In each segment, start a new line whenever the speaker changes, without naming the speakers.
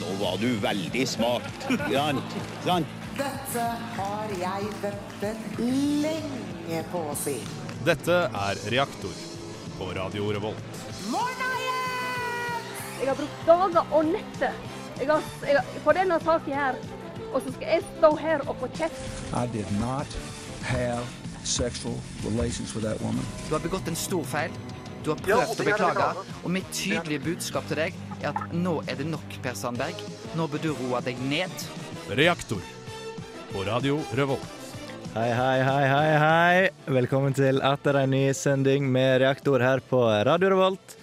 Nå var du veldig smart. Sant? Sant?
Dette har jeg ventet lenge på å si.
Dette er Reaktor på Radio Revolt.
Morna
Jeg har brukt dager og netter jeg har, jeg har, på denne saken her. Og så skal jeg stå her og få kjeft.
I did not have sexual relations with that woman.
Du har begått en stor feil. Du har prøvd å beklage. Og mitt tydelige budskap til deg er at nå er det nok, Per Sandberg. Nå bør du roe deg ned.
Reaktor på Radio Revolt.
Hei, hei, hei, hei, hei. Velkommen til atter en ny sending med Reaktor her på Radio Revolt.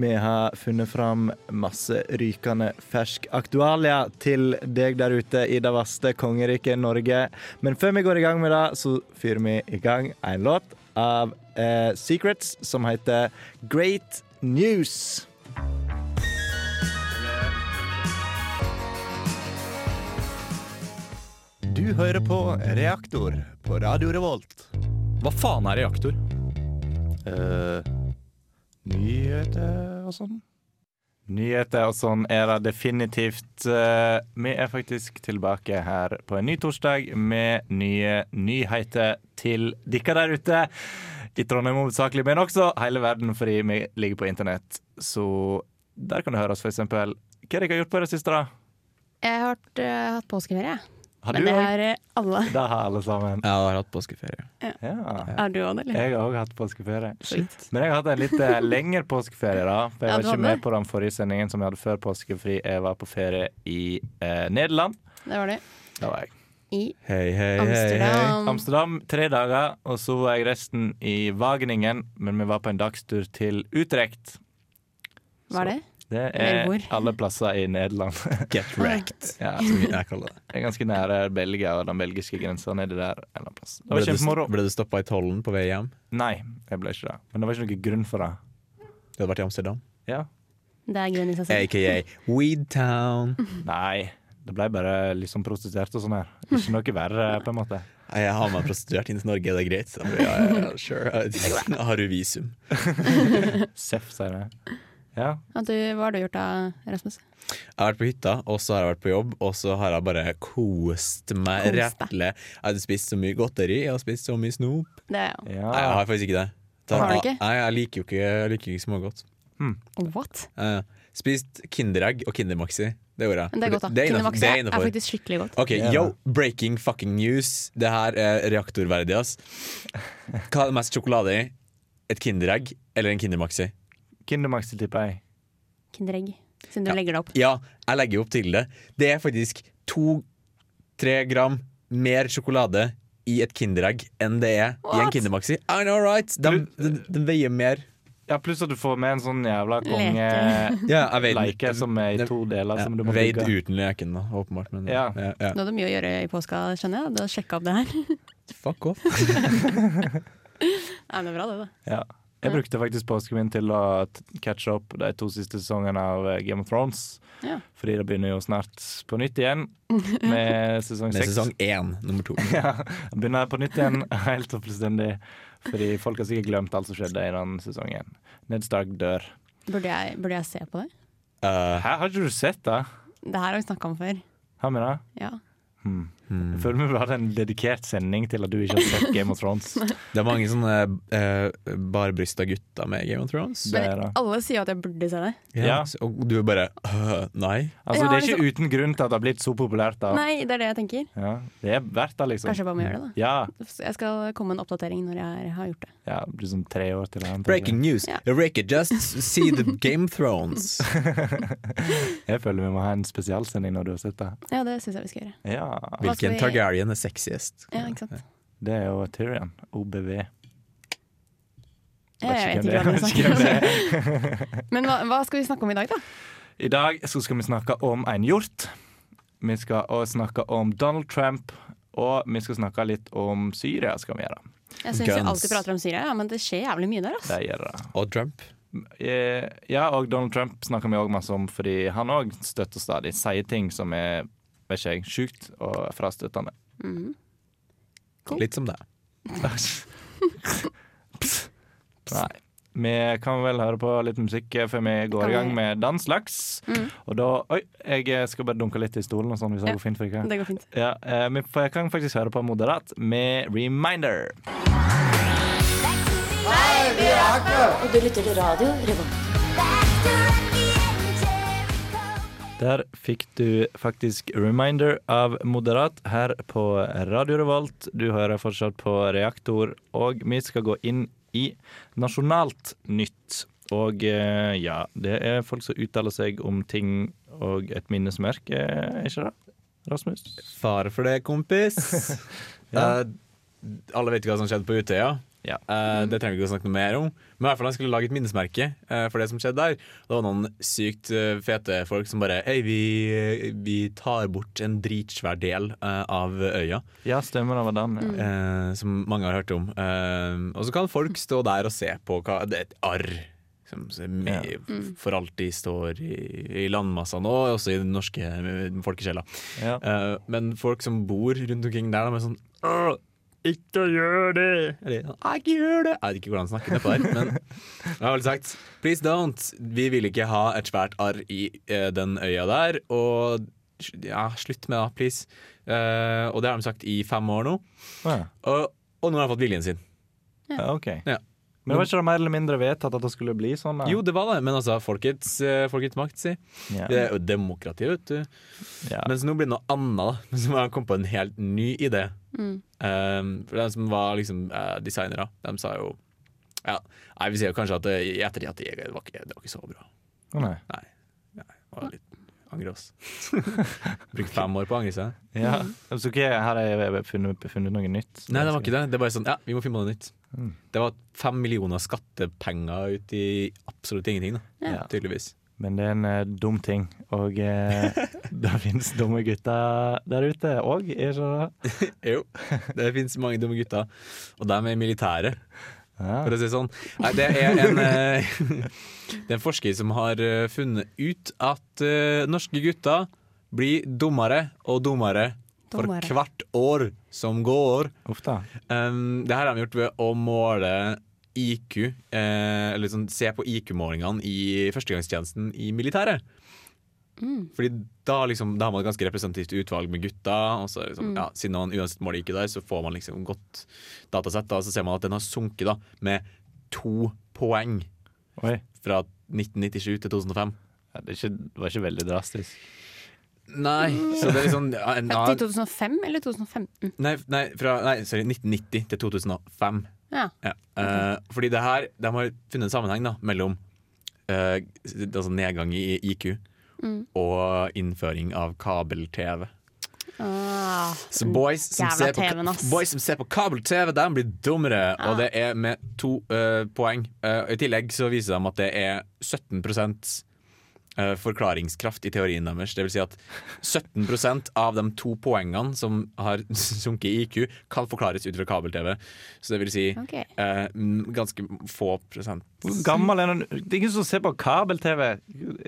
Vi har funnet fram masse rykende fersk aktualia til deg der ute i det vaste kongeriket Norge. Men før vi går i gang med det, så fyrer vi i gang en låt av eh, Secrets som heter Great News.
Du hører på Reaktor på Radio Revolt.
Hva faen er reaktor?
Eh, Nyheter og sånn.
Nyheter og sånn er det definitivt. Eh, Vi er faktisk tilbake her på en ny torsdag med nye nyheter til dere der ute. I Trondheim hovedsakelig, men også hele verden, fordi vi ligger på internett. Så der kan du høre oss, for eksempel. Hva har dere gjort på det siste, da?
Jeg har hatt, eh, hatt påskeferie, jeg.
Har
men
du
det
òg?
har eh, alle.
Det har alle sammen.
Jeg har hatt påskeferie.
Ja.
Har du òg det, eller?
Jeg har òg hatt påskeferie.
Shit.
Men jeg har hatt en litt eh, lengre påskeferie, da. For jeg
Ja,
var
du
ikke
hadde
med
det.
på den forrige sendingen som jeg hadde før påske, fordi jeg var på ferie i eh, Nederland.
Det var det.
Da var jeg
I
Hei, hei,
Amsterdam.
Amsterdam tre dager, og så var jeg resten i Wageningen. Men vi var på en dagstur til Utrecht.
Var det?
Det
Eller
er
hvor?
alle plasser i Nederland.
Get wrecked,
ja,
som jeg kaller det.
det er ganske nære Belgia og den belgiske grensa nedi der. en eller annen plass. Det
Ble
var
du,
kjempemoro.
ble du stoppa i tollen på vei hjem?
Nei, jeg ble ikke det. Men det var ikke noen grunn for det.
Du hadde vært i Amsterdam?
Ja.
Det er grunn i seg selv.
Aka Weed Town.
Nei, det ble bare liksom prostituert og sånn her. Ikke noe verre, på en måte.
Nei, Jeg har meg prostituert inn til Norge, er det greit? Så jeg bare, ja, ja, ja, sure. Jeg har du visum?
Seff, sier jeg. Ja.
At du, hva har du gjort da, Rasmus?
Jeg har vært på hytta, og så har jeg vært på jobb, og så har jeg bare kost meg
Kost deg.
rettelig. Jeg hadde spist så mye godteri, jeg har spist så mye snop.
Det er jo
Nei, jeg
ja.
har faktisk ikke det. Da-
Har du ikke?
Nei, jeg liker jo ikke, jeg liker ikke smågodt.
What?
Eh, spist Kinderegg og Kindermaxi. Det gjorde jeg.
Men det er godt, da.
Det er innafor.
Kindermaxi
Det er
er, er
innenfor.
faktisk skikkelig godt.
OK,
Ja.
yo, breaking fucking news. Det her er reaktorverdig, ass. Hva er det mest sjokolade i? Et Kinderegg eller en Kindermaxi?
Kindermaxi, tipper jeg.
Kinderegg. Siden du
Ja.
legger det opp.
Ja, jeg legger jo opp til det. Det er faktisk to-tre gram mer sjokolade i et Kinderegg enn det er i en
What?
Kindermaxi. I know, right? De,
Du-
de, de veier mer.
Ja, pluss at du får med en sånn jævla
Leke.
kongeleike
Ja, jeg vet
som er i to deler,
Ja,
som du må
veid
bruke.
uten leken, da, åpenbart. Men,
Ja.
Ja, ja.
Du hadde mye å gjøre i påska, skjønner jeg. Du har sjekka opp det her.
Fuck off.
Ja, det er bra, det, da.
Ja. Jeg brukte faktisk påsken min til å t- catche opp de to siste sesongene av eh, Game of Thrones.
Ja.
Fordi det begynner jo snart på nytt igjen med sesong
Med
seks.
sesong én, nummer to.
Ja, begynner på nytt igjen, helt og fullstendig. Fordi folk har sikkert glemt alt som skjedde i den sesongen. Ned Stark dør.
Burde jeg, burde jeg se på det?
Eh,
Hæ, har ikke du sett det?
Det her har vi snakka om før.
Har vi det?
Ja.
Jeg føler vi burde hatt en dedikert sending til at du ikke har sett Game of Thrones.
det er mange sånne uh, barbrysta gutter med Game of Thrones.
Det er det.
Alle sier jo at jeg burde se det.
Ja.
så- Og du er bare øh, Nei.
Altså, det er ikke uten grunn til at det har blitt så populært. da.
liksom- Nei, det er det jeg tenker.
Ja, det er verdt det, liksom.
Kanskje jeg bare må gjøre det, da.
Ja,
Jeg skal komme med en oppdatering når jeg har gjort det.
ja det blir sånn tre år til. den, tenker jeg.
Breaking news.
Ja.
Eureka just see the Game of Thrones.
Jeg føler vi må ha en spesialsending når du har sett det.
Ja, det syns jeg vi skal gjøre.
Ja,
Hva skal
Hvilken
vi-
Targaryen er sexiest?
Ja, ikke sant.
Det er jo Tyrion. OBV.
Jeg, jeg vet
hvem
ikke
det
hva dere
er.
snakker om. Men hva, hva skal vi snakke om i dag, da?
I dag så skal vi snakke om en hjort. Vi skal også snakke om Donald Trump. Og vi skal snakke litt om Syria. skal vi gjøre.
Jeg syns vi
Guns.
alltid prater om Syria, ja, men det skjer jævlig mye der, altså.
Det gjør det.
Og Trump.
Eh, Ja, og Donald Trump snakker vi òg masse om, fordi han òg støtter stadig. Sier ting som er vet ikke jeg, sjukt og frastøtende.
Cool.
Litt som deg.
Nei. Vi kan vel høre på litt musikk før vi går i gang med den slags. Og da Oi, jeg skal bare dunke litt i stolen, og sånn hvis det
Mm. Ja.
går fint for dere.
Det går fint.
Ja, eh, men for jeg kan faktisk høre på Moderat med Reminder. Der fikk du faktisk Reminder av Moderat her på Radio Revolt. Du hører fortsatt på Reaktor, og vi skal gå inn i nasjonalt nytt. Og eh, ja, det er folk som uttaler seg om ting og et minnesmerke, er ikke det? Rasmus?
Fare for det, kompis. Eh, alle vet jo hva som skjedde på Utøya.
Ja.
Eh, det trenger vi ikke å snakke noe mer om. Men i hvert fall han skulle lage et minnesmerke eh, for det som skjedde der. Det var noen sykt eh, fete folk som bare Hei, vi, vi tar bort en dritsvær del eh, av øya.
Ja, stemmer det var den. Ja.
eh, som mange har hørt om. Eh, og så kan folk stå der og se på hva Det er et arr som som
Ja.
i- for alltid står i, i landmassene, og også i den norske eh, folkesjela.
Ja.
Eh, men folk som bor rundt omkring der, de er sånn «Åh, Ikke gjør det! Eller sånn, «Åh, ikke gjør det! Jeg vet ikke hvordan han snakker nedpå der, men jeg har vel sagt please don't. Vi vil ikke ha et svært arr i eh, den øya der, og ja, slutt med det, please. Eh, og det har de sagt i fem år nå,
Ja.
og, og nå har de fått viljen sin.
Ja, OK.
Ja.
Men var ikke det mer eller mindre vedtatt at det skulle bli sånn? da?
Jo, det var det, men altså, folkets, eh, folkets makt, si.
ja.
Det er jo demokrati, vet du.
ja.
Mens nå blir det noe annet, da. Som jeg kom på en helt ny idé. Um, for de som var liksom eh, designere, de sa jo ja, Nei, vi sier jo kanskje at eh, i ettertid at det var ikke, det var ikke så bra.
Å, nei.
Nei. nei det var litt angre oss. Brukte fem år på å angre seg.
Ja. Så ok, her har jeg funnet, funnet noe nytt.
Nei, det var ikke det. Det er bare sånn Ja, vi må finne på noe nytt. Mm. Det var fem millioner skattepenger ut i absolutt ingenting, da.
Ja.
Tydeligvis.
Men det er en eh, dum ting, og eh, det finnes dumme gutter der ute òg, er ikke det?
Jo, det fins mange dumme gutter, og de er militære.
Ja.
For å si det sånn. Nei, det er en, eh, det er en forsker som har eh, funnet ut at eh, norske gutter blir dummere og dummere for
Dummere.
hvert år som går.
Uff da.
Um, det her har de gjort ved å måle IQ, eh, eller sånn, se på IQ-målingene i førstegangstjenesten i militæret. Fordi da, liksom, da har man et ganske representativt utvalg med gutter. Og så, er det liksom, ja, siden man uansett måler IQ der, så får man liksom godt datasett. Da, så ser man at den har sunket da, med to poeng
Oi.
fra 1997 til 2005.
Ja, det, er ikke, det var ikke veldig drastisk.
Nei, så det er liksom ja, en,
Ja,
ja,
Til 2005 eller 2015?
nei, nei, fra, nei, sorry, 1990 til 2005.
Ja.
Ja. eh, fordi det her, de har funnet en sammenheng da, mellom eh, altså nedgang i IQ og innføring av kabel-TV.
Ah,
Så boys som,
Jævla
ser på,
TV-en, ass.
boys som ser på kabel-TV, de blir dummere,
Ja.
og det er med to eh, poeng. Eh, I tillegg så viser de at det er 17 eh, forklaringskraft i teorien deres. Det vil si at 17 av de to poengene som har sunket i IQ, kan forklares ut fra kabel-TV. Så det vil si
Ok.
eh, m, ganske få prosent.
Hvor gammel er den? Det er ingen som ser på kabel-TV!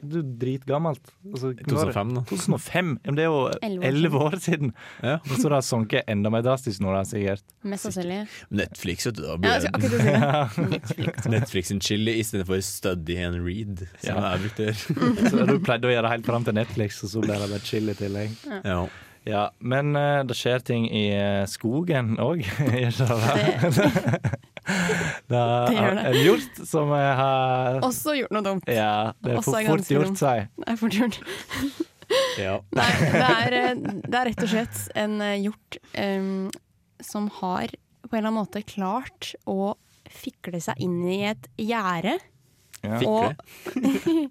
Du er dritgammelt. Altså, når-
2005 da.
2005? Ja, men det er jo
Elleve år
elleve år siden.
Ja.
Og så det har sunket enda mer drastisk nå, da, sikkert.
Mest sannsynlig.
Netflix, vet du. Da
Ja,
blir
jeg
det
skulle akkurat si det. Netflix.
Netflix and chill istedenfor study and read, som
Ja.
jeg brukte.
Så du pleide å gjøre helt fram til Netflix, og så ble det bare chill i tillegg.
Ja.
Ja, men eh, det skjer ting i eh, skogen òg, gjør ikke det? Det
Det gjør
har
det.
en hjort som jeg har
Også gjort noe dumt.
Ja, det er
Også
for
er
fort
ganske
gjort,
dumt.
sier jeg.
Det er fort gjort.
Ja.
Nei, det er, eh, det er rett og slett en eh, hjort em, som har på en eller annen måte klart å fikle seg inn i et gjerde.
Ja.
Og,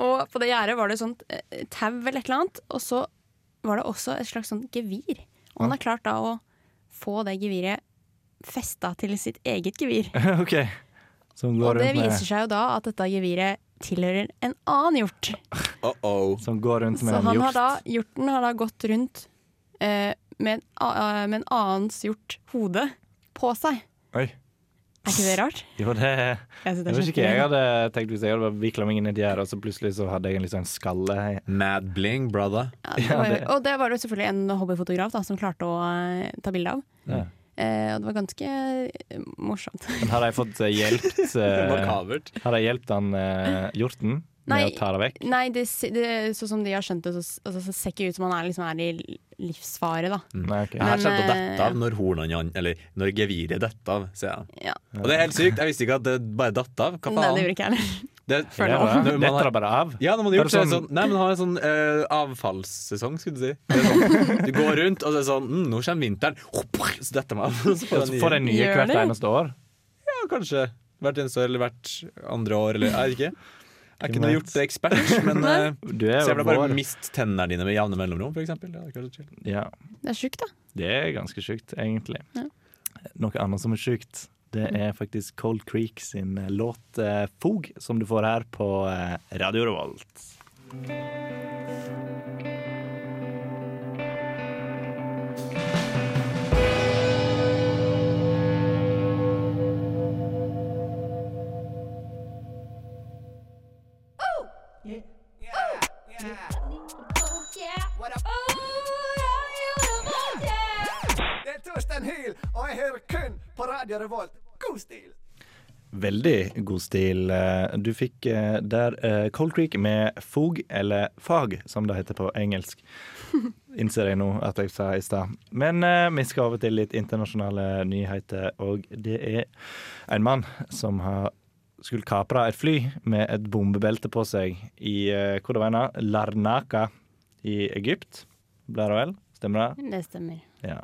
og på det gjerdet var det sånt eh, tau eller et eller annet, og så var det også et slags sånt gevir. Og han har klart da å få det geviret festa til sitt eget gevir.
OK. Som
Og
går,
det
rundt
viser
med,
seg jo da at dette geviret tilhører en annen hjort.
Uh -oh.
som går rundt med
Så
en
han har
hjort.
da, hjorten har da gått rundt eh, med, en, a- eh, med en annens hjort hode på seg.
Oi.
Er ikke det rart?
Jo, det
Jeg synes
Jeg vet ikke hva jeg
kjempegøy.
hadde tenkt hvis jeg hadde vikla meg inn i et gjerde, og så plutselig så hadde jeg en litt sånn skalle her.
Mad bling, brother.
Ja, det var, jo- og det var det selvfølgelig en hobbyfotograf da, som klarte å eh, ta bilde av.
Ja.
Eh, og det var ganske eh, morsomt.
Men har de fått eh, hjulpet eh,
Makabert.
Har de hjulpet han eh, hjorten med
Nei.
å ta det vekk?
Nei, det, se- det, sånn som de har skjønt det, så, altså, så ser ikke ut som han er, liksom, er i livsfare, da.
Nei, ok.
Jeg har
Men,
skjønt å dette av
eh,
når hornene Eller når geviret detter av, sier jeg.
Ja.
Og det er helt sykt. Jeg visste ikke at det bare datt av. Hva
Nei, det
faen?
gjorde ikke jeg heller.
Det,
Det
Føler
er det.
Når man
Dette
har-
er bare av.
ja, når man har gjort
Er
det
det
sånn, Nei, men har en sånn eh, avfallssesong, skulle du si. Det er sånn, du går rundt, og det er sånn mm, Nå kommer vinteren, så detter man av. og Så
Ja,
får
så
den
Får de
nye.
nye
Gjør
hvert
det?
eneste år?
Ja, kanskje. Hvert eneste år, eller hvert andre år, eller jeg vet ikke. Jeg er ikke noe
Hvem vet?
gjort ekspert, men eh,
Du er
så jeg
jo
vil bare
vår.
miste tennene dine med jevne mellomrom, for eksempel. Ja, det er kanskje chill.
Ja,
Det er sjukt, da.
det er ganske sjukt, egentlig.
Ja.
Noe annet som er sjukt, det er faktisk Cold Creek sin eh, låt eh, 'Fog', som du får her på eh, Radio Revolt. Veldig god stil. Eh, Du fikk eh, der eh, Cold Creek med fog, eller fag, som det heter på engelsk. Innser jeg nå at jeg sa i stad. Men eh, vi skal over til litt internasjonale nyheter, og det er en mann som har skulle kapre et fly med et bombebelte på seg i eh, hvor det var nå? Larnaca i Egypt. Blir det vel? Stemmer det?
Det stemmer.
Ja.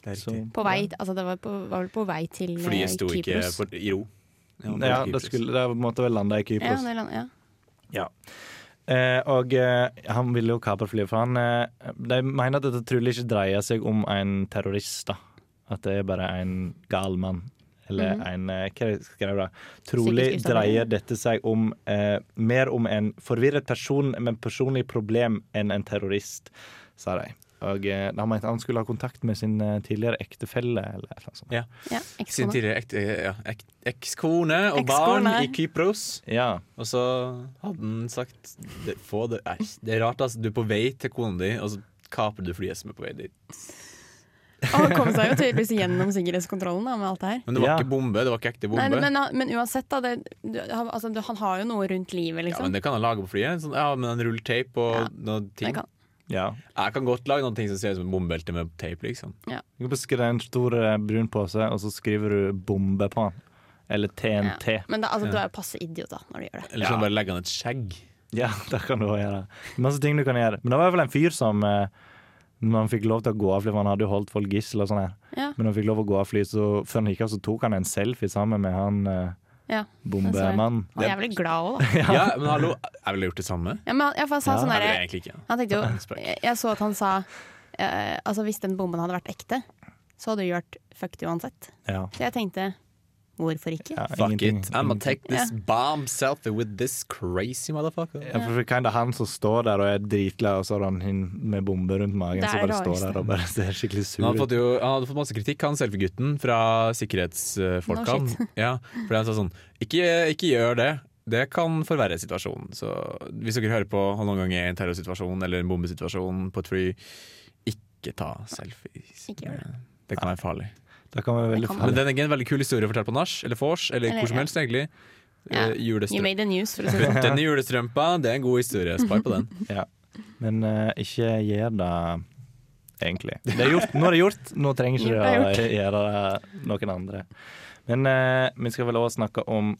Det er
Så,
riktig.
På vei, altså det var, på, var vel på vei til eh,
Flyet sto ikke
Kypros.
for, i ro. Ja, det
ja,
var
det,
Kypros.
skulle, det måtte vel lande i
Ja,
Kypros.
det land, ja.
Ja. Eh, og eh, han ville jo kapre flyet, for han eh, De mener at dette trolig ikke dreier seg om en terrorist, da. At det er bare en gal mann. Eller en eh, Hva skrev jeg da? Trolig
Psykisk ustabil.
dreier dette seg om eh, mer om en forvirret person med personlig problem enn en terrorist, sa de. Og eh, de mente han skulle ha kontakt med sin eh, tidligere ektefelle, eller et eller annet sånt.
Ja.
ja
Sin
ekskona.
tidligere ekt- eh, ja, ek- ekskone og
Ekskone.
barn i Kypros.
Ja.
Og så hadde han sagt det, få det. Nei, det er rart, altså. Du er på vei til kona di, og så kaper du flyet som er på vei dit.
Og han kom seg jo tydeligvis gjennom sikkerhetskontrollen da, med alt det her.
Men det var
Ja.
ikke bombe. Det var ikke ekte bombe.
Nei, men, men uansett, da. Det, du, han, altså, du, han har jo noe rundt livet,
ja, men
liksom.
det kan han lage på flyet. Sånn, ja, men en rullteip og
Ja,
noe ting.
Jeg kan.
ja.
Jeg kan godt lage noen ting som ser ut som et bombebelte med teip, liksom.
Du kan bare skrive en stor eh, brun pose, og så skriver du 'bombe' på den. Eller
Ja.
TNT.
Men da, altså, du er jo passe idiot da, når du gjør det.
Eller så
Ja.
kan du bare legge han et skjegg.
Ja, det kan du også gjøre. Masse ting du kan gjøre. Men det var i hvert fall en fyr som eh, Når han fikk lov til å gå av flyet, for han hadde jo holdt folk gissel og sånn her.
Ja.
Men når han fikk lov å gå av flyet, så før han gikk av, så tok han en selfie sammen med han eh,
Ja.
bombemannen.
Han er jævlig glad òg, da.
Ja. men hallo, jeg ville gjort det samme.
Ja, men han, ja, for han sa
Ja.
sånn
Jeg ville
derre
egentlig ikke.
Han tenkte jo
Spøk.
jeg, jeg så at han sa eh, Altså hvis den bomben hadde vært ekte, så hadde du gjort fuck it uansett.
Ja.
Så jeg tenkte hvorfor ikke?
Ja,
Fuck
ingenting.
it. I'm gonna take this bomb selfie with this crazy motherfucker.
Ja, for det kan det han som står der og er dritglad, og så har han hin med bombe rundt magen,
Det er
så bare
det
står
rareste.
der og bare ser skikkelig sur
Men Han hadde,
ut.
fått jo, han hadde fått masse kritikk, han selfie-gutten, fra sikkerhetsfolka.
No shit.
ja, fordi han sa sånn ikke, ikke gjør det. Det kan forverre situasjonen. Så hvis dere hører på og noen gang er i en terrorsituasjon eller en bombesituasjon på et fly, ikke ta selfies.
Ikke gjør
det. kan være farlig.
Det kan være
Det
veldig
kan
Men
farlig.
den er en veldig kul historie å fortelle på nach eller vors eller,
Eller,
hvor som
ja.
helst, egentlig.
Ja.
Eh,
You
Julestrøm.
made the news, for å si det sånn.
Putt den i julestrømpa, det er en god historie. Spar på den.
Ja. Men eh, ikke gjør det, egentlig. Det er gjort. Nå er det gjort, nå trenger ikke
Det er
du å gjøre det noen andre. Men eh, vi skal vel også snakke om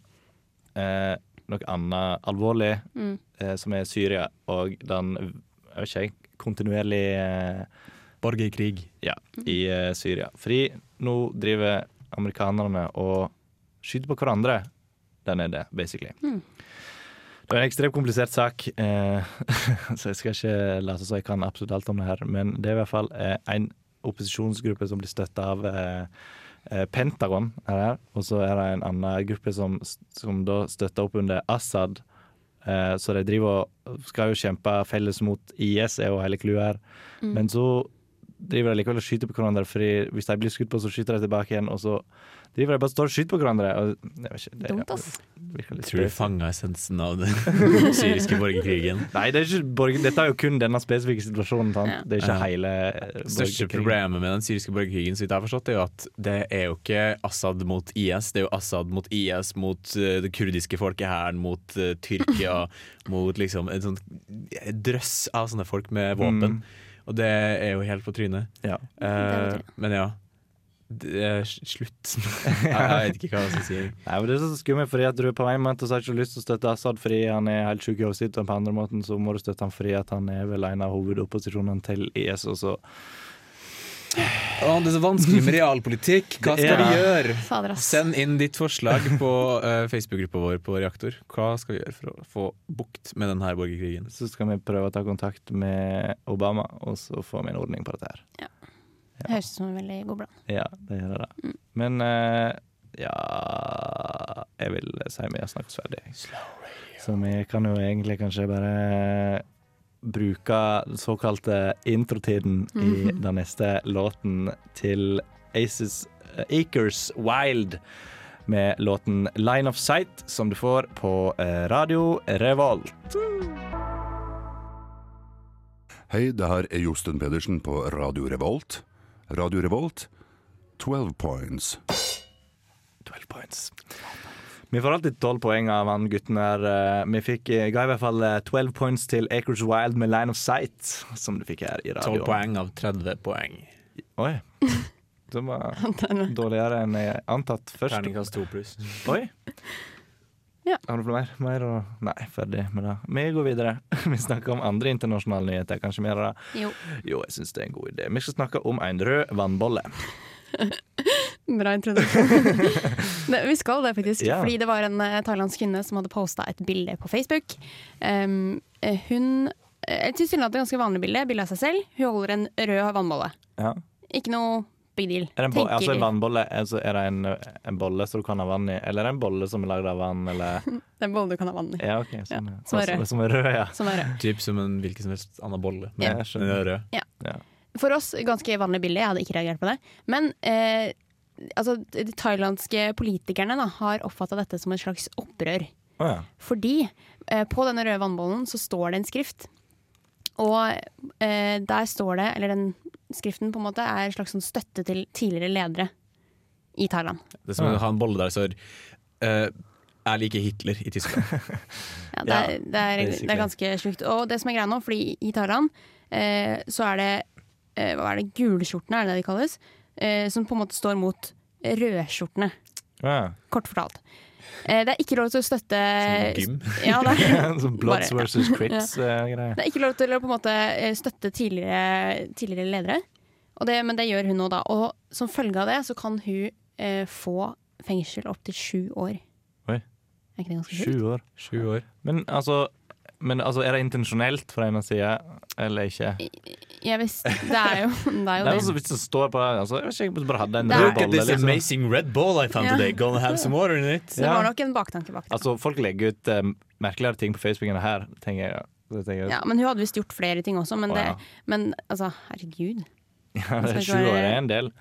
eh, noe annet alvorlig,
Mm.
eh, som er Syria og den jeg vet ikke, jeg, kontinuerlig eh,
Borgerkrig.
ja,
Mm.
i eh, Syria. Fordi nå driver amerikanerne og skyter på hverandre der nede, basically. Det er en ekstremt komplisert sak, eh, så jeg skal ikke late som jeg kan absolutt alt om det her. Men det er i hvert fall eh, en opposisjonsgruppe som blir støtta av eh, eh, Pentagon, er det her. Og så er det en annen gruppe som, som da støtter opp under Assad. Eh, så
Mm.
de driver og skal jo kjempe felles mot IS, er jo hele clouet her. Men så driver de likevel og skyter på hverandre, Fordi hvis de blir skutt på, så skyter de tilbake igjen, og så driver de bare og står og skyter på hverandre. Og, jeg vet ikke, det,
Dumt, ass.
det virker litt
Tror du
spesielt.
fanga essensen av den syriske borgerkrigen?
Nei, det er ikke borger, dette er jo kun denne spesifikke situasjonen. Sant?
Ja.
Det er ikke
Ja.
hele eh,
Største
borgerkrigen.
problemet med den syriske borgerkrigen så vidt jeg har forstått, er jo at det er jo ikke Assad mot IS, det er jo Assad mot IS, mot eh, det kurdiske folket her, mot eh, Tyrkia, mot liksom en sånn drøss av sånne folk med våpen. Og det er jo helt på trynet.
Ja.
Eh,
Mm. er på trynet.
men ja. Det er s- slutt. jeg vet ikke hva jeg skal si.
Nei, men det er så skummelt, fordi at du på en måte så har du ikke lyst til å støtte Assad fordi han er helt sjuk i hodet sitt, og på andre måten så må du støtte han fordi at han er vel en av hovedopposisjonene til IS. Og så
Å, det er så vanskelig med realpolitikk. Hva skal
Ja.
vi gjøre?
Fader, ass.
Send inn ditt forslag på eh, Facebook-gruppa vår på Reaktor. Hva skal vi gjøre for å få bukt med denne borgerkrigen?
så skal vi prøve å ta kontakt med Obama, og så får vi en ordning på dette her.
Det høres ut som en veldig god plan.
Ja, det gjør det. da. Men eh, ja Jeg vil si vi har snakket oss ferdig. jeg. Så vi kan jo egentlig kanskje bare bruke den såkalte introtiden i den neste låten til Aces eh, Acres Wild. Med låten 'Line of Sight', som du får på eh, Radio Revolt.
Hei, det her er Josten Pedersen på Radio Revolt. Radio Revolt, 12 points.
12 points. Vi får alltid 12 poeng av han gutten der. Eh, Vi fikk, eh, ga i hvert fall eh, 12 points til Acres Wild med Line of Sight, som du fikk her i radioen.
12 poeng av 30 poeng.
Oi. Det var dårligere enn jeg antatt først.
Terningkast 2 pluss.
Oi.
Ja.
Har du noe mer? mer å... Nei, ferdig med det. Vi går videre. Vi snakker om andre internasjonale nyheter. Kanskje vi gjør det?
Jo.
Jo, jeg syns det er en god idé. Vi skal snakke om en rød vannbolle.
Bra introduksjon. Ne, vi skal det, faktisk.
Ja.
Fordi det var en eh, thailandsk kvinne som hadde posta et bilde på Facebook. Um, eh, hun eh, Et tilsynelatende ganske vanlig bilde. Bilde av seg selv. Hun holder en rød vannbolle.
Ja.
Ikke noe big deal.
Er det en, bo
tenker-
altså en vannbolle altså er det en, en bolle som du kan ha vann i, eller er det en bolle som er lagd av vann, eller
Det er en bolle du kan ha vann i.
Ja, OK. Sånn,
Ja,
ja.
som er rød.
Som, som er rød, ja.
Som er rød.
Typ som en hvilken som helst annen bolle.
Ja,
Men
jeg
den er
skjønner.
rød.
For oss ganske vanlig bilde. Jeg hadde ikke reagert på det. Men eh, altså, de thailandske politikerne da, har oppfatta dette som et slags opprør.
Å, ja.
Fordi eh, på denne røde vannbollen så står det en skrift. Og eh, der står det, eller den skriften på en måte, er en slags sånn støtte til tidligere ledere i Thailand.
Det er som å ha en bolle der som uh, Jeg liker Hitler i Tyskland.
Ja, det,
Ja,
er, det, er,
basically.
det er ganske sjukt. Og det som er greia nå, fordi i Thailand eh, så er det eh, hva er det, gulskjortene, er det det de kalles, eh, som på en måte står mot rødskjortene.
Å,
Kort fortalt. Eh, det er ikke lov til å støtte
Eh,
Som gym.
Ja, det er,
ja. Sånn Bloods
Bare-
versus eh, Crips-greie.
Det er ikke lov til å på en måte eh, støtte tidligere, tidligere ledere, og det, men det gjør hun nå da. Og som følge av det så kan hun eh, få fengsel opptil sju år.
Oi.
Er ikke det ganske sjukt?
Sju år.
Sju år.
Men altså, men altså, er det intensjonelt fra ene sida, eller ikke? Det
Ja visst, det er jo det. Er jo
er
det.
altså hvis det står på altså, Jeg vet ikke, bare hadde en
Det
rød
er-
Look at
bolle,
this
liksom.
amazing red ball I found
Ja.
today. Gonna have some water in it.
Så det var nok en baktanke bak det.
Altså, folk legger ut eh, merkeligere ting på Facebook enn det her, tenker jeg. Så tenker jeg
ja, men hun hadde visst gjort flere ting også,
Å,
men, det,
ja.
men altså, herregud. skal
eh, Sju
ikke
år
være-
er en del.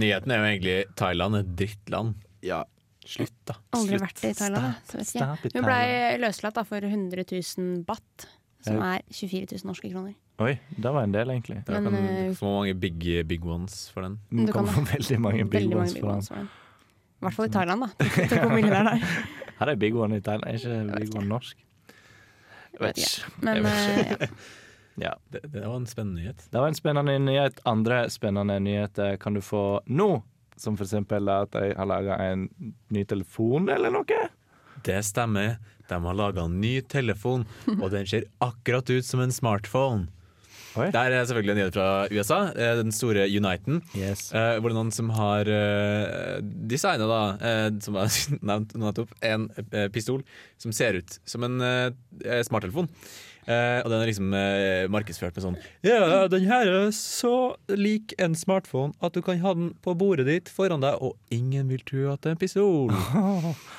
Nyheten er jo egentlig Thailand er et drittland.
Ja.
Slutt, da.
Aldri
Slutt.
vært i Thailand. da, Så vet
Stop
ikke.
it,
jeg. Hun ble løslatt da, for 100 000 baht, som er 24 000 norske kroner.
Oi, det var en del, egentlig.
Da
Men,
kan
eh,
du få mange big, big ones for den.
Men
Det
du kan
kommer veldig mange big
Veldig
ones
mange big
fra han.
ones for den. I hvert fall i Thailand, da. Tenk hvor mye det er der.
Her er Big One i Thailand, er ikke Big One norsk? Jeg vet ikke.
Men
Jeg vet
eh, ja.
Ja.
Det, det var en spennende nyhet.
Det var en spennende nyhet. Andre spennende nyheter kan du få nå. Som for eksempel at de har laga en ny telefon eller noe.
Det stemmer. De har laga en ny telefon, og den ser akkurat ut som en smartphone.
Oi.
Der er selvfølgelig en nyhet fra USA, eh, den store Uniten.
Yes.
Eh, hvor det er noen som har eh, designa, da, eh, som jeg nevnte nettopp, en eh, pistol som ser ut som en eh, smarttelefon. Eh, Eh, og den er liksom eh, markedsført med sånn Ja, den her er så lik en smartphone at du kan ha den på bordet ditt foran deg, og ingen vil tro at det er en pistol.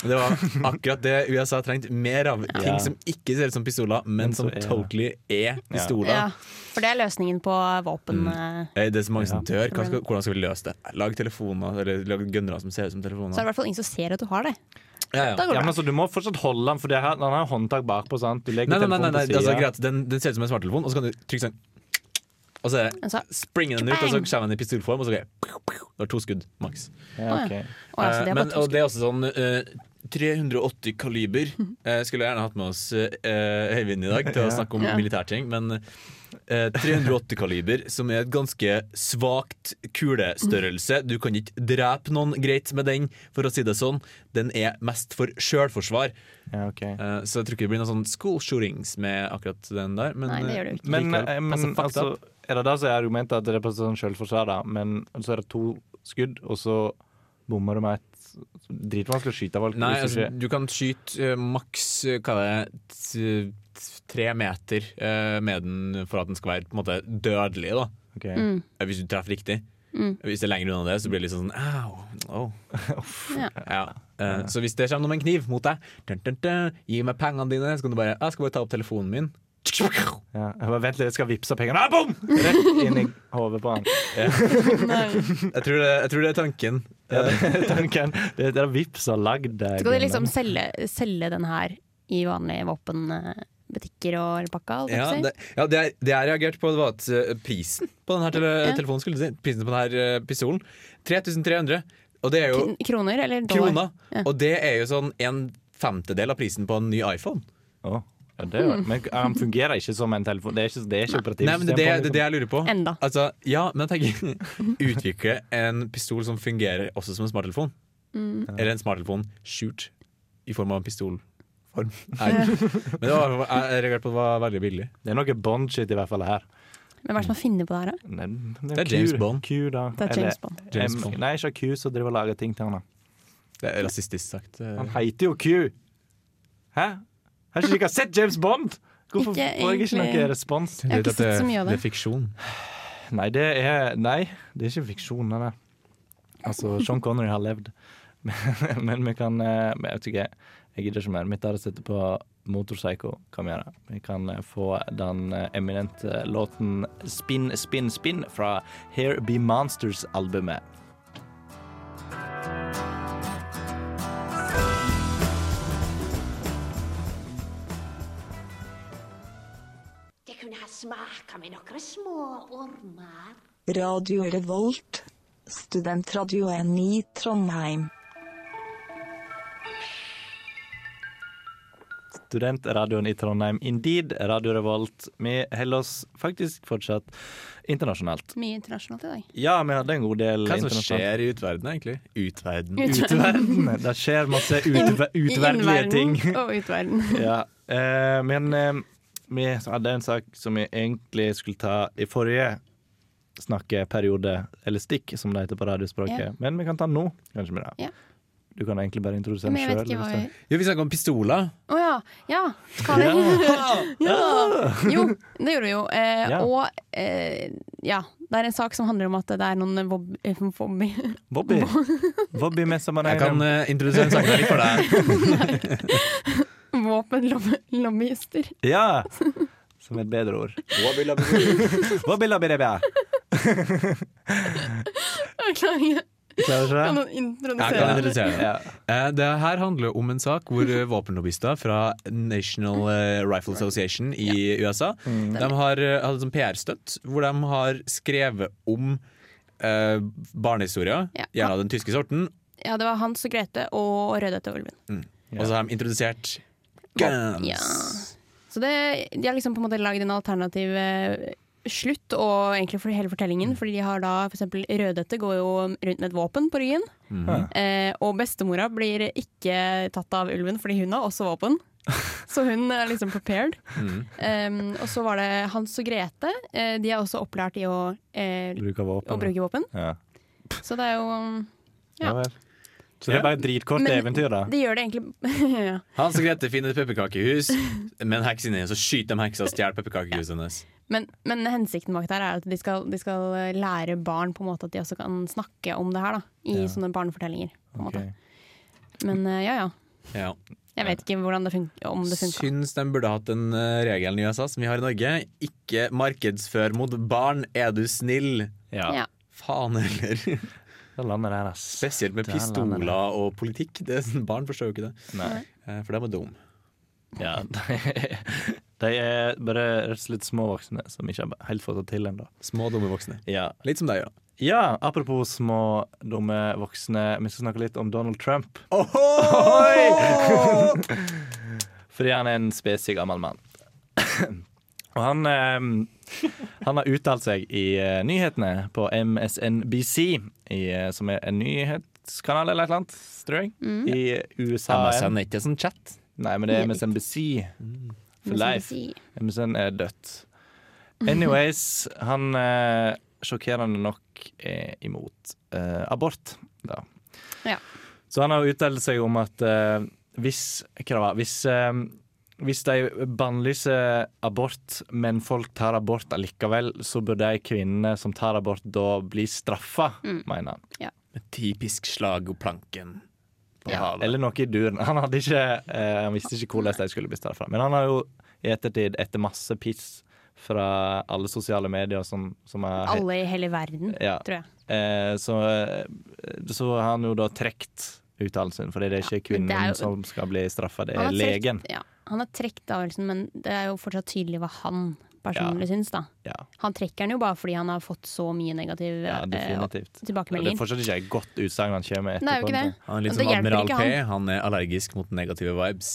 Det var akkurat det USA trengte mer av. Ting som ikke ser ut som pistoler, men,
Men
som
så er-
totally er pistoler.
Ja, for det er løsningen på våpen...
Mm.
eh,
Eh, Det er så mange som dør. Hva skal, hvordan skal vi løse det? Lag telefoner, eller lag gønnere som ser ut som
Så er det
telefoner.
i hvert fall ingen som ser at du har det.
Ja, ja.
Da går
Ja,
det
men
bra.
så Du må fortsatt holde den, for det her, den har håndtak bakpå. sant? Du legger
Nei, nei, nei, nei, nei.
telefonen på
Altså,
siden.
greit. Den, den ser ut som en smarttelefon, og så kan du trykke sånn Og så er det-
Altså,
springer den ut, og så
bang!
kommer den i pistolform, og så er det Det var to skudd, maks.
Ja, ok.
Å, altså,
Eh,
det er
Men,
bare to
og det er også sånn eh, 380 kaliber. Eh, skulle gjerne hatt med oss eh, Øyvind i dag til å snakke om
Ja.
militærting, men eh, 380 kaliber, som er et ganske svakt kulestørrelse. Du kan ikke drepe noen greit med den, for å si det sånn. Den er mest for sjølforsvar.
Ja, ok.
Eh, Så jeg tror ikke det blir noen sånn school shootings med akkurat den der. Men,
Nei, det gjør det jo ikke.
Men,
likevel,
eh, men
passer fucked
altså,
up.
er det det som er argumentet at det er på sånn selvforsvar, da? Men så er det to skudd, og så bommer du med et Dritvanskelig å skyte folk.
Nei,
hvis du
altså,
ikke-
du kan skyte eh, maks eh, hva er det, t- t- tre meter eh, med den for at den skal være på en måte dødelig, da.
Ok.
Eh, Hvis du treffer riktig.
Mm.
Hvis det er lenger unna det, så blir det litt sånn au. au».
Ja.
Ja. Eh, Så hvis det kommer noen med en kniv mot deg, dun, dun, dun, gi meg pengene dine, så kan du bare Jeg skal bare ta opp telefonen min.
Ja. Jeg bare, Vent litt, jeg skal vippse pengene. Ah, bom! Rett inn i hodet på han.
Jeg tror det, jeg tror det er tanken.
Ja, det, tanken, det, det er vips har lagd eh, det.
Så kan de liksom selge, selge den her i vanlige våpenbutikker og pakka? holdt jeg
Ja,
på å si.
det, ja, det, jeg- det jeg reagerte på, det var at eh, prisen på denne tele
Ja.
telefonen skulle jeg si, Prisen på denne eh, pistolen 3300, og det er jo
Kr- Kroner eller dollar?
kroner.
Ja.
Og det er jo sånn en femtedel av prisen på en ny iPhone.
Å, ja, det er jo- men han fungerer ikke som en telefon. Det er ikke, det er ikke operativt. liksom.
Nei, men Det er det, det, er det jeg lurer på.
Enda.
Altså, ja, men jeg tenker Utvikle en pistol som fungerer også som en smarttelefon.
Mm.
Eller en smarttelefon skjult i form av en pistolform. Nei. Men det var, jeg jeg reagerte på at det var veldig billig.
det er noe Bond-shit i hvert fall her.
Men hva er det som har funnet på det her, da?
Nei, men
Det er James
Q-
Bond.
Q, da.
Det er James Bond.
James
M-
Bond.
Nei, ikke Q som driver og lager ting til han. da.
Det er rasistisk sagt.
Han heter jo Q. Hæ? Har ikke dere sett James Bond? Hvorfor
Ikke
får jeg ikke
egentlig.
noe respons?
Jeg har ikke sett så mye av
Det
det.
er fiksjon.
Nei, det er, nei, det er ikke fiksjon. nei, nei. Altså, Sean Connery har levd. Men, men vi kan eh, men Jeg vet ikke, jeg gidder ikke mer. Mitt er å sitte på Motorpsycho-kamera. Vi kan eh, få den eh, eminente låten 'Spin, Spin, Spin' fra Here Be Monsters-albumet.
Det kunne ha smaka med nokre små ormar.
Radio Revolt, studentradioen i Trondheim.
Studentradioen i Trondheim, Indeed, Radio Revolt. Vi holder oss faktisk fortsatt internasjonalt.
Mye internasjonalt i dag.
Ja, vi hadde en god del
Hva er det som
internasjonalt.
skjer i utverdenen, egentlig? Utverden.
Utverden. Det skjer masse utver utverdelige ting.
Innverden og utverden.
Ja. eh, men eh, vi hadde en sak som vi egentlig skulle ta i forrige snakkeperiode, eller stikk, som det heter på radiospråket.
Ja.
Men vi kan ta den nå, kanskje. Mira.
Ja.
Du kan egentlig bare introdusere
Men jeg
den
vet ikke hva vi
sjøl.
Jo, vi snakker om pistoler.
Å ja. Ja, hva er det? Ja. Jo, det gjorde vi jo. Eh,
Ja.
Og eh, ja, det er en sak som handler om at det er noen vob... eh, vob-
Bobby. Bobby med
Jeg kan eh, introdusere en sak der litt for deg.
våpenlobbyister.
Ja! Som et bedre ord. Bobby labbidibba.
Beklager,
Klarer du
kan
ikke det?
noen
Jeg kan
introdusere det?
introdusere det.
Ja.
Eh, Det her handler om en sak hvor eh, våpenlobbyister fra National eh, Rifle Association i USA
Mm.
De har eh, hatt en PR-støtt hvor de har skrevet om eh, barnehistorier,
Ja.
gjerne av den tyske sorten,
Ja, det var Hans og Grete og Rødhette og ulven.
og så har de introdusert guns.
Ja. Så det, de har liksom på en måte lagd en alternativ eh, slutt og egentlig for hele fortellingen. Fordi de har da for eksempel Rødhette går jo rundt med et våpen på ryggen. Eh, og bestemora blir ikke tatt av ulven fordi hun har også våpen. Så hun er liksom prepared. Eh, og så var det Hans og Grete. Eh, de er også opplært i å, eh,
Bruk av
å
våpen.
bruke våpen.
Ja.
Så det er jo
Ja vel. Så det er bare et dritkort
Men-
eventyr, da.
Det gjør det egentlig ja.
Hans og Grete finner et pepperkakehus, men heksen er inne, så skyter de heksa og stjeler pepperkakehuset hennes.
men, men hensikten bak det her er at de skal, de skal eh, lære barn på en måte at de også kan snakke om det her. da I
Ja.
sånne barnefortellinger. På en måte. Men eh, ja ja.
Ja.
Jeg vet ikke hvordan det fun- om det funka.
Syns de burde hatt den eh, regelen i USA som vi har i Norge. Ikke markedsfør mot barn, er du snill?
Ja.
Faen heller. Spesielt med
Det landet
pistoler og politikk. Det, sånn, barn forstår jo ikke det.
Nei.
Eh, For de er dumme.
Ja, de, de er bare rett og slett små voksne som ikke har helt fått det til ennå.
Små, dumme voksne.
Ja.
Litt som deg, ja.
ja. Apropos små, dumme voksne. Vi skal snakke litt om Donald Trump. Fordi han er en spesig gammel mann. Og han, eh, han har uttalt seg i eh, nyhetene på MSNBC, i, eh, som er en nyhetskanal eller et eller annet, tror jeg,
Mm.
i USA.
MSN er ikke sånn chat.
Nei, men det er
Nei.
MSNBC
Mm.
for life.
MSNBC.
MSN er dødt.
Mm.
Anyways, han eh, sjokkerende nok er imot eh, abort, da.
Ja.
Så han har jo uttalt seg om at eh, hvis Hva det var Hvis, eh, hvis de bannlyser abort, men folk tar abort allikevel, så bør de kvinnene som tar abort, da bli straffa,
Mm.
mener han.
Typisk slag og planken. på
Ja.
havet.
Eller noe i duren. Han, hadde ikke, eh, han visste ikke hvordan de skulle bli straffa. Men han har jo i ettertid, etter masse piss fra alle sosiale medier som, som er
Alle i hele verden,
Ja.
tror jeg.
Eh, så, eh, så har han jo da trukket uttalelsen sin, fordi det er ikke
men
kvinnen
det er jo-
som skal bli straffa, det er
Han har trekt-
Eh, legen.
Ja, han har trukket avgjørelsen, men det er jo fortsatt tydelig hva han personlig syns. da
Ja,
Han trekker den jo bare fordi han har fått så mye negativ
ja definitivt.
eh,
Og det er
tilbakemeldinger.
fortsatt ikke et godt utsagn han kommer med
Det er jo
etterpå.
ikke det.
Han er litt
Og
som
det hjelper
Admiral
ikke
P. Han er allergisk mot negative vibes.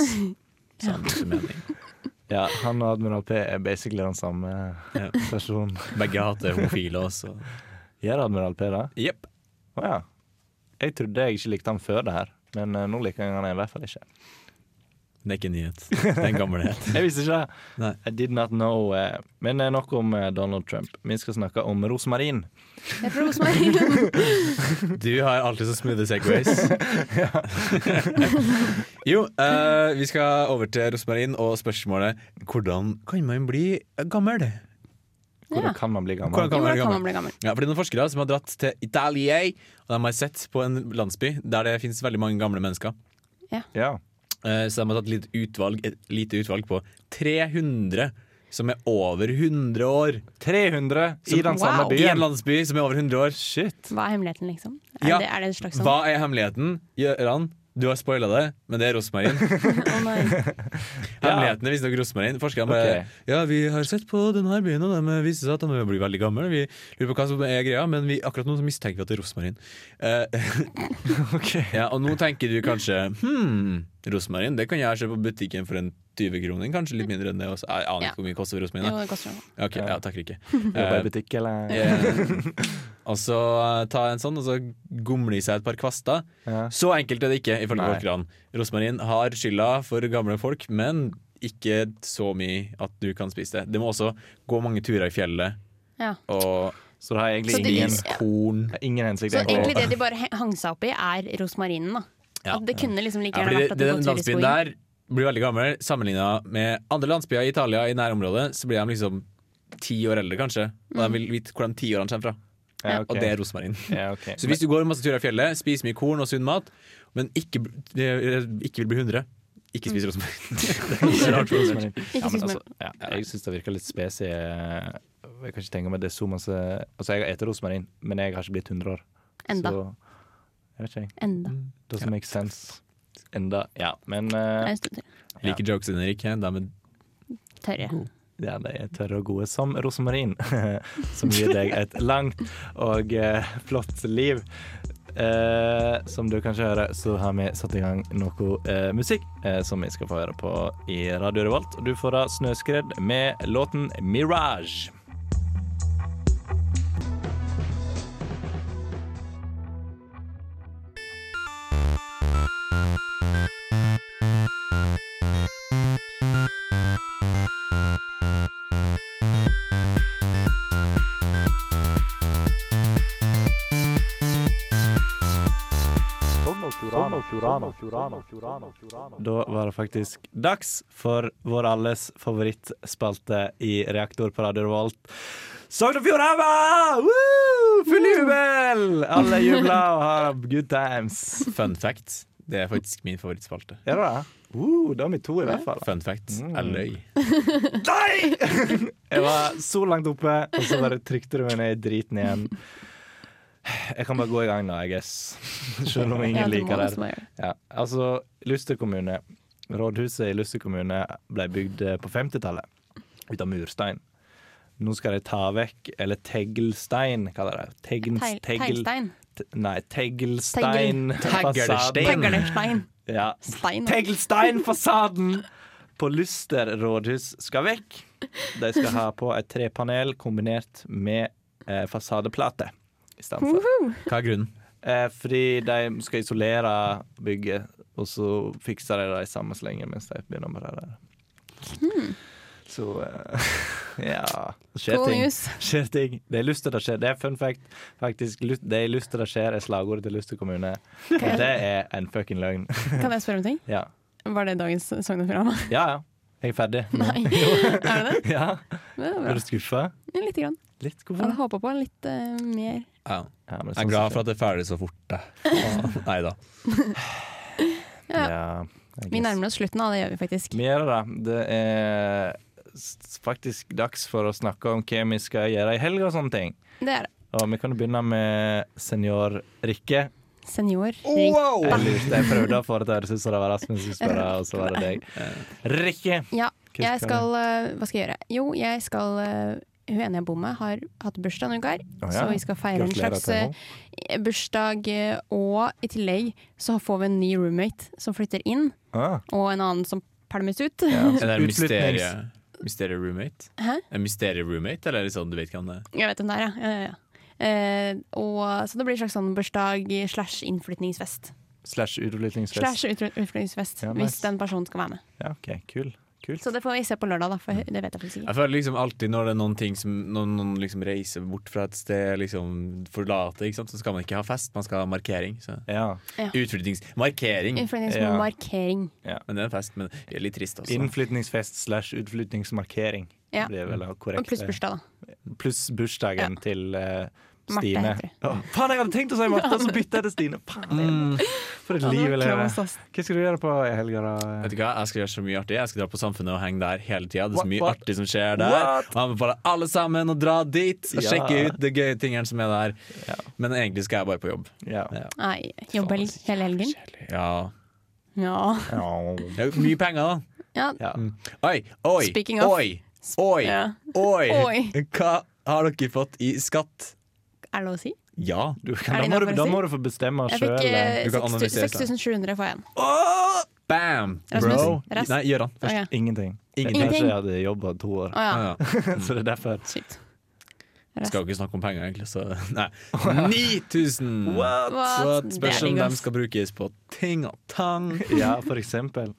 Så han bytter mening.
Ja, han og Admiral P er basically den samme
Ja.
personen.
Begge hater homofile også.
Gjør Admiral P det?
Jepp.
Å ja. Jeg trodde jeg ikke likte han før det her, men eh, nå liker jeg han i hvert fall ikke.
Det er ikke en nyhet. Det er en gammelhet.
Jeg visste ikke det.
Nei.
I did not know. eh, Men eh, nok om eh, Donald Trump. Vi skal snakke om rosmarin.
Jeg tror hos meg.
Du har alltid så smooth segways. jo, eh, vi skal over til rosmarin og spørsmålet hvordan kan man bli gammel?
Hvordan
Ja.
kan man bli
Hvordan kan man
gammel?
Hvordan
bli
kan man
gammel?
bli gammel?
Ja, for det er noen forskere som har dratt til Italia, og de har sett på en landsby der det finnes veldig mange gamle mennesker.
Ja.
Eh, Så de har tatt litt utvalg, et lite utvalg på 300 som er over 100 år.
300 i
Som-
den samme
Wow.
I en
byen.
landsby som er over 100 år.
Shit.
Hva er hemmeligheten, liksom? Er,
Ja.
det, er det en slags sånn
Hva er hemmeligheten? Gøran, du har spoila det, men det er rosmarin.
sånn- Å nei.
Hemmeligheten er visstnok rosmarin. Forskerne bare
Ok.
Ja, vi har sett på denne byen, og de viser seg at de blir veldig gamle. Vi lurer på hva som er greia, men vi, akkurat nå så mistenker vi at det er rosmarin. Eh, ja, og nå tenker du kanskje Hm, rosmarin, det kan jeg kjøpe på butikken for en 20 kroner. Kanskje litt mindre enn det. Også. Jeg aner
Ja.
ikke hvor mye det koster rosmarin.
Jo,
da.
det koster noe.
Ok, ja, takk Rikke.
Er det
Eh,
i butikk, eller?
eh, og så eh, ta en sånn, og så gomle i seg et par kvaster.
Ja.
Så enkelt er det ikke, ifølge
Nei.
forskerne. Rosmarin har skylda for gamle folk, men ikke så mye at du kan spise det. Det må også gå mange turer i fjellet,
Ja.
og
Så det har egentlig
Så det-
ingen,
ingen korn.
ingen hensikt.
Så
egentlig.
egentlig det de bare he- hang seg opp i, er rosmarinen, da.
Ja.
At det kunne liksom like
Ja,
gjerne
fordi
vært at det
den
går tur i
landsbyen
skogen.
der blir veldig gammel sammenligna med andre landsbyer i Italia i nærområdet. Så blir de liksom ti år eldre, kanskje, og
Mm.
de vil vite hvor de ti årene kommer fra.
Ja, ok.
Og det er rosmarin.
Ja, ok.
Så hvis du går masse turer i fjellet, spiser mye korn og sunn mat, men ikke, eh, ikke vil bli 100 ikke
Mm.
spis rosmarin. det er rart for oss.
Men- Ja, men
spis
altså, ja, jeg syns det virker litt spesielt. Jeg kan ikke tenke meg det er så masse Altså, jeg har spist rosmarin, men jeg har ikke blitt 100 år.
Enda.
Så jeg vet ikke, jeg.
Enda.
Doesn't make sense. Enda. Ja, men
Det
eh,
er en stund til.
Liker jokes dine, Erik. De er
Tørre.
Ja, de er tørre og gode som rosmarin, som gir deg et langt og eh, flott liv. Eh, som du kanskje hører, så har vi satt i gang noe eh, musikk eh, som vi skal få høre på i Radio Revolt. Du får da 'Snøskred' med låten 'Mirage'.
Donald Trump.
Da var det faktisk dags for vår alles favorittspalte i Reaktor på Radio Revolt. Sogn og Fjordhamar! Woo! Full jubel! Alle jubler og har good times.
Fun fact. Det er faktisk min favorittspalte.
Er det det? Uh, da er vi to i hvert fall.
Fun fact.
Mm.
Jeg løy.
Nei! Jeg var så langt oppe, og så bare trykte du meg ned i driten igjen. Jeg kan bare gå i gang nå, I guess. Selv om ingen
Ja, du må
liker
nesten
det.
bare gjøre det.
Ja, altså, Luster kommune. Rådhuset i Luster kommune ble bygd eh, på 50-tallet ut av murstein. Nå skal de ta vekk Eller teglstein, kaller de det. Tegn-
Teil-
tegl-
teglstein.
te- Nei, teglstein.
Tegl.
fasaden.
Teglerstein.
Ja.
Stein.
Teglsteinfasaden på Luster rådhus skal vekk. De skal ha på et trepanel kombinert med eh, fasadeplate istedenfor.
Woohoo!
Hva er grunnen?
Eh, fordi de skal isolere bygget, og så fikser de det i samme slengen mens de begynner med det der. Så eh, ja Det skjer
Hmm. Cool
ting.
news.
skjer ting. Det er Luster det skjer. Det er fun fact. Faktisk, Lu- det er Luster det skjer, er slagordet til Luster kommune. Og det er en fucking løgn.
Kan jeg spørre om ting?
ja.
Var det dagens Sogn og Fjordane?
Ja, ja. Jeg er ferdig.
Nei. Er det det?
Ja.
det
Er
er bra.
du skuffa?
Ja, Litt. Grann.
Litt?
Jeg hadde håpa på litt eh, mer.
Ja.
Ja, men
Jeg er glad for at det er ferdig så fort. da. Nei da.
Ja.
jeg
Vi
guess.
nærmer oss slutten, da. Det gjør vi faktisk.
Vi gjør det, da. Det er s- faktisk dags for å snakke om hva vi skal gjøre i helga og sånne ting.
Det er det.
Og vi kan jo begynne med senior Rikke.
Senior.
Jeg lurte, jeg prøvde å få det til å høres ut som det var Rasmus som spør, og så var det deg. Rikke!
Ja,
Hva
jeg
skal
skal eh, Hva skal jeg gjøre? Jo, jeg skal eh, Hun ene jeg bor med, har hatt bursdag noen uker.
Å
Så
ja.
vi skal feire en
Gratulerer
slags
til
eh,
henne.
bursdag. eh, Og i tillegg så får vi en ny roommate som flytter inn,
Ah,
og en annen som pælmes ut.
Er det en
Utflytnings-
mysterie, mysterie roommate?
Hæ?
En mysterie roommate, eller er det sånn du vet hvem det er?
Jeg vet hvem det er, ja. ja, ja, ja. Eh, og, så det blir en slags sånn bursdag slash innflytningsfest.
slash utflyttingsfest.
Slash utflyt- innflytningsfest,
Ja,
hvis
nice.
den personen skal være med.
Ja, OK. Kul. Kult.
Så det får vi se på lørdag, da, for det vet jeg faktisk ikke.
Jeg føler liksom alltid når det er noen ting som Når noen liksom reiser bort fra et sted, liksom forlater, ikke sant? så skal man ikke ha fest, man skal ha markering. Så.
Ja.
Utflyttingsmarkering!
Ja.
Innflyttingsmarkering.
Men det er en fest, men det er litt trist også.
Innflytningsfest slash utflyttingsmarkering.
Ja.
Det er vel
Mm.
korrekt.
Og pluss bursdag, da.
pluss bursdagen til eh,
Marte
Stine.
heter
Å, faen, jeg hadde tenkt å si Marte, så bytta jeg til Stine! Faen, for et
Ja, det
liv
var
jeg lever.
close, ass.
Hva skal du gjøre på i helga, da?
Vet du hva, Jeg skal gjøre så mye artig Jeg skal dra på Samfunnet og henge der hele tida. Det er
What,
så mye
what?
artig som skjer der.
What?
Og jeg anbefaler alle sammen å dra dit og
Ja.
sjekke ut de gøye tingene som er der. Men egentlig skal jeg bare på jobb.
Ja.
Ja.
Nei, jobber hele helgen.
ja.
Ja.
Ja. Mm.
Det er jo mye penger, da.
ja.
Ja.
Oi, oi,
Speaking of.
oi, oi,
Ja.
oi.
Oi.
Hva har dere fått i skatt?
Er det lov å si?
Ja.
Du,
Er
kan, da,
det
må du,
innenfor å
da
si?
må du få bestemme
Jeg
sjøl.
fikk eh,
Du kan
sekstu-
analysere seg.
6700 får jeg igjen.
Åh, bam!
Rasmus,
Bro.
rest.
Nei, Gøran.
Å, ja.
Ingenting.
Ingenting.
Ingenting. Jeg hadde jobba to år,
Å, ja.
Ah, ja.
så det er derfor.
Sykt.
Skal jo ikke snakke om penger, egentlig, så Nei. 9000!
What?
Så
What?
det
Det
spørs
er
om
digg,
de
ass.
skal brukes på ting og tang.
Ja, for eksempel.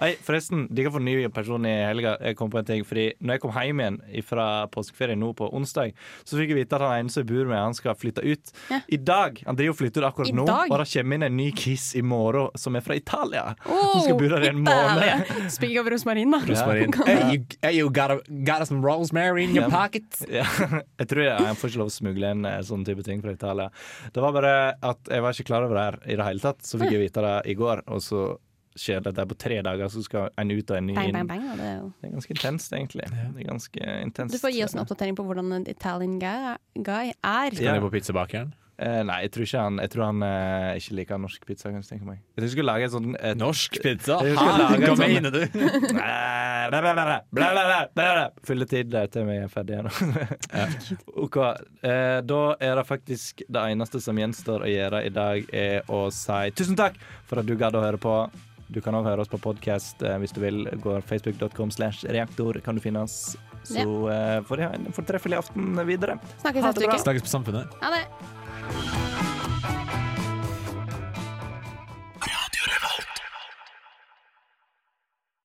Nei, forresten, de kan få ny person i helga. Jeg kom på en ting, fordi når jeg kom hjem igjen fra påskeferie nå på onsdag, så fikk jeg vite at han ene som jeg bor med, han skal flytte ut. I dag! Han driver og flytter ut akkurat
I
nå,
dag?
og det kommer inn en ny kiss i morgen som er fra Italia.
Oh,
Hun skal bo der i en måned.
Speaking of rosmarin, da.
Rosmarin. Hey, you, hey, you got, a, got some rosemary in your pocket?
Ja, jeg tror jeg, jeg får ikke lov å smugle inn eh, sånne type ting fra Italia. Det var bare at jeg var ikke klar over det her i det hele tatt, så fikk jeg vite det i går. Og så skjer det at det er på tre dager, så skal en ut og en ny
Bang,
inn.
bang, bang. Da. Det er jo.
Det er ganske intenst, egentlig. Det er ganske intenst.
Du får gi oss en oppdatering på hvordan en Italian guy, guy
Ja.
er.
Skal vi på pizzabakeren?
Eh, nei, jeg tror ikke han, jeg tror han eh, ikke liker norsk pizza. Kan jeg tenke meg. Jeg tror jeg skulle lage et sånn et,
Norsk pizza?
Jeg skal lage en
Hva
sånn-
mener du?
Blæ, blæ, blæ, blæ, blæ, blæ, blæ, blæ. Fylle tid der til vi er ferdige nå. OK. Eh, da er det faktisk det eneste som gjenstår å gjøre i dag, er å si tusen takk for at du gadd å høre på. Du kan òg høre oss på podkast eh, hvis du vil. Går facebook.com slash reaktor, kan du finne oss. Så eh, får de ha en fortreffelig aften videre.
Snakkes neste uke.
Snakkes på Samfunnet.
Ha det.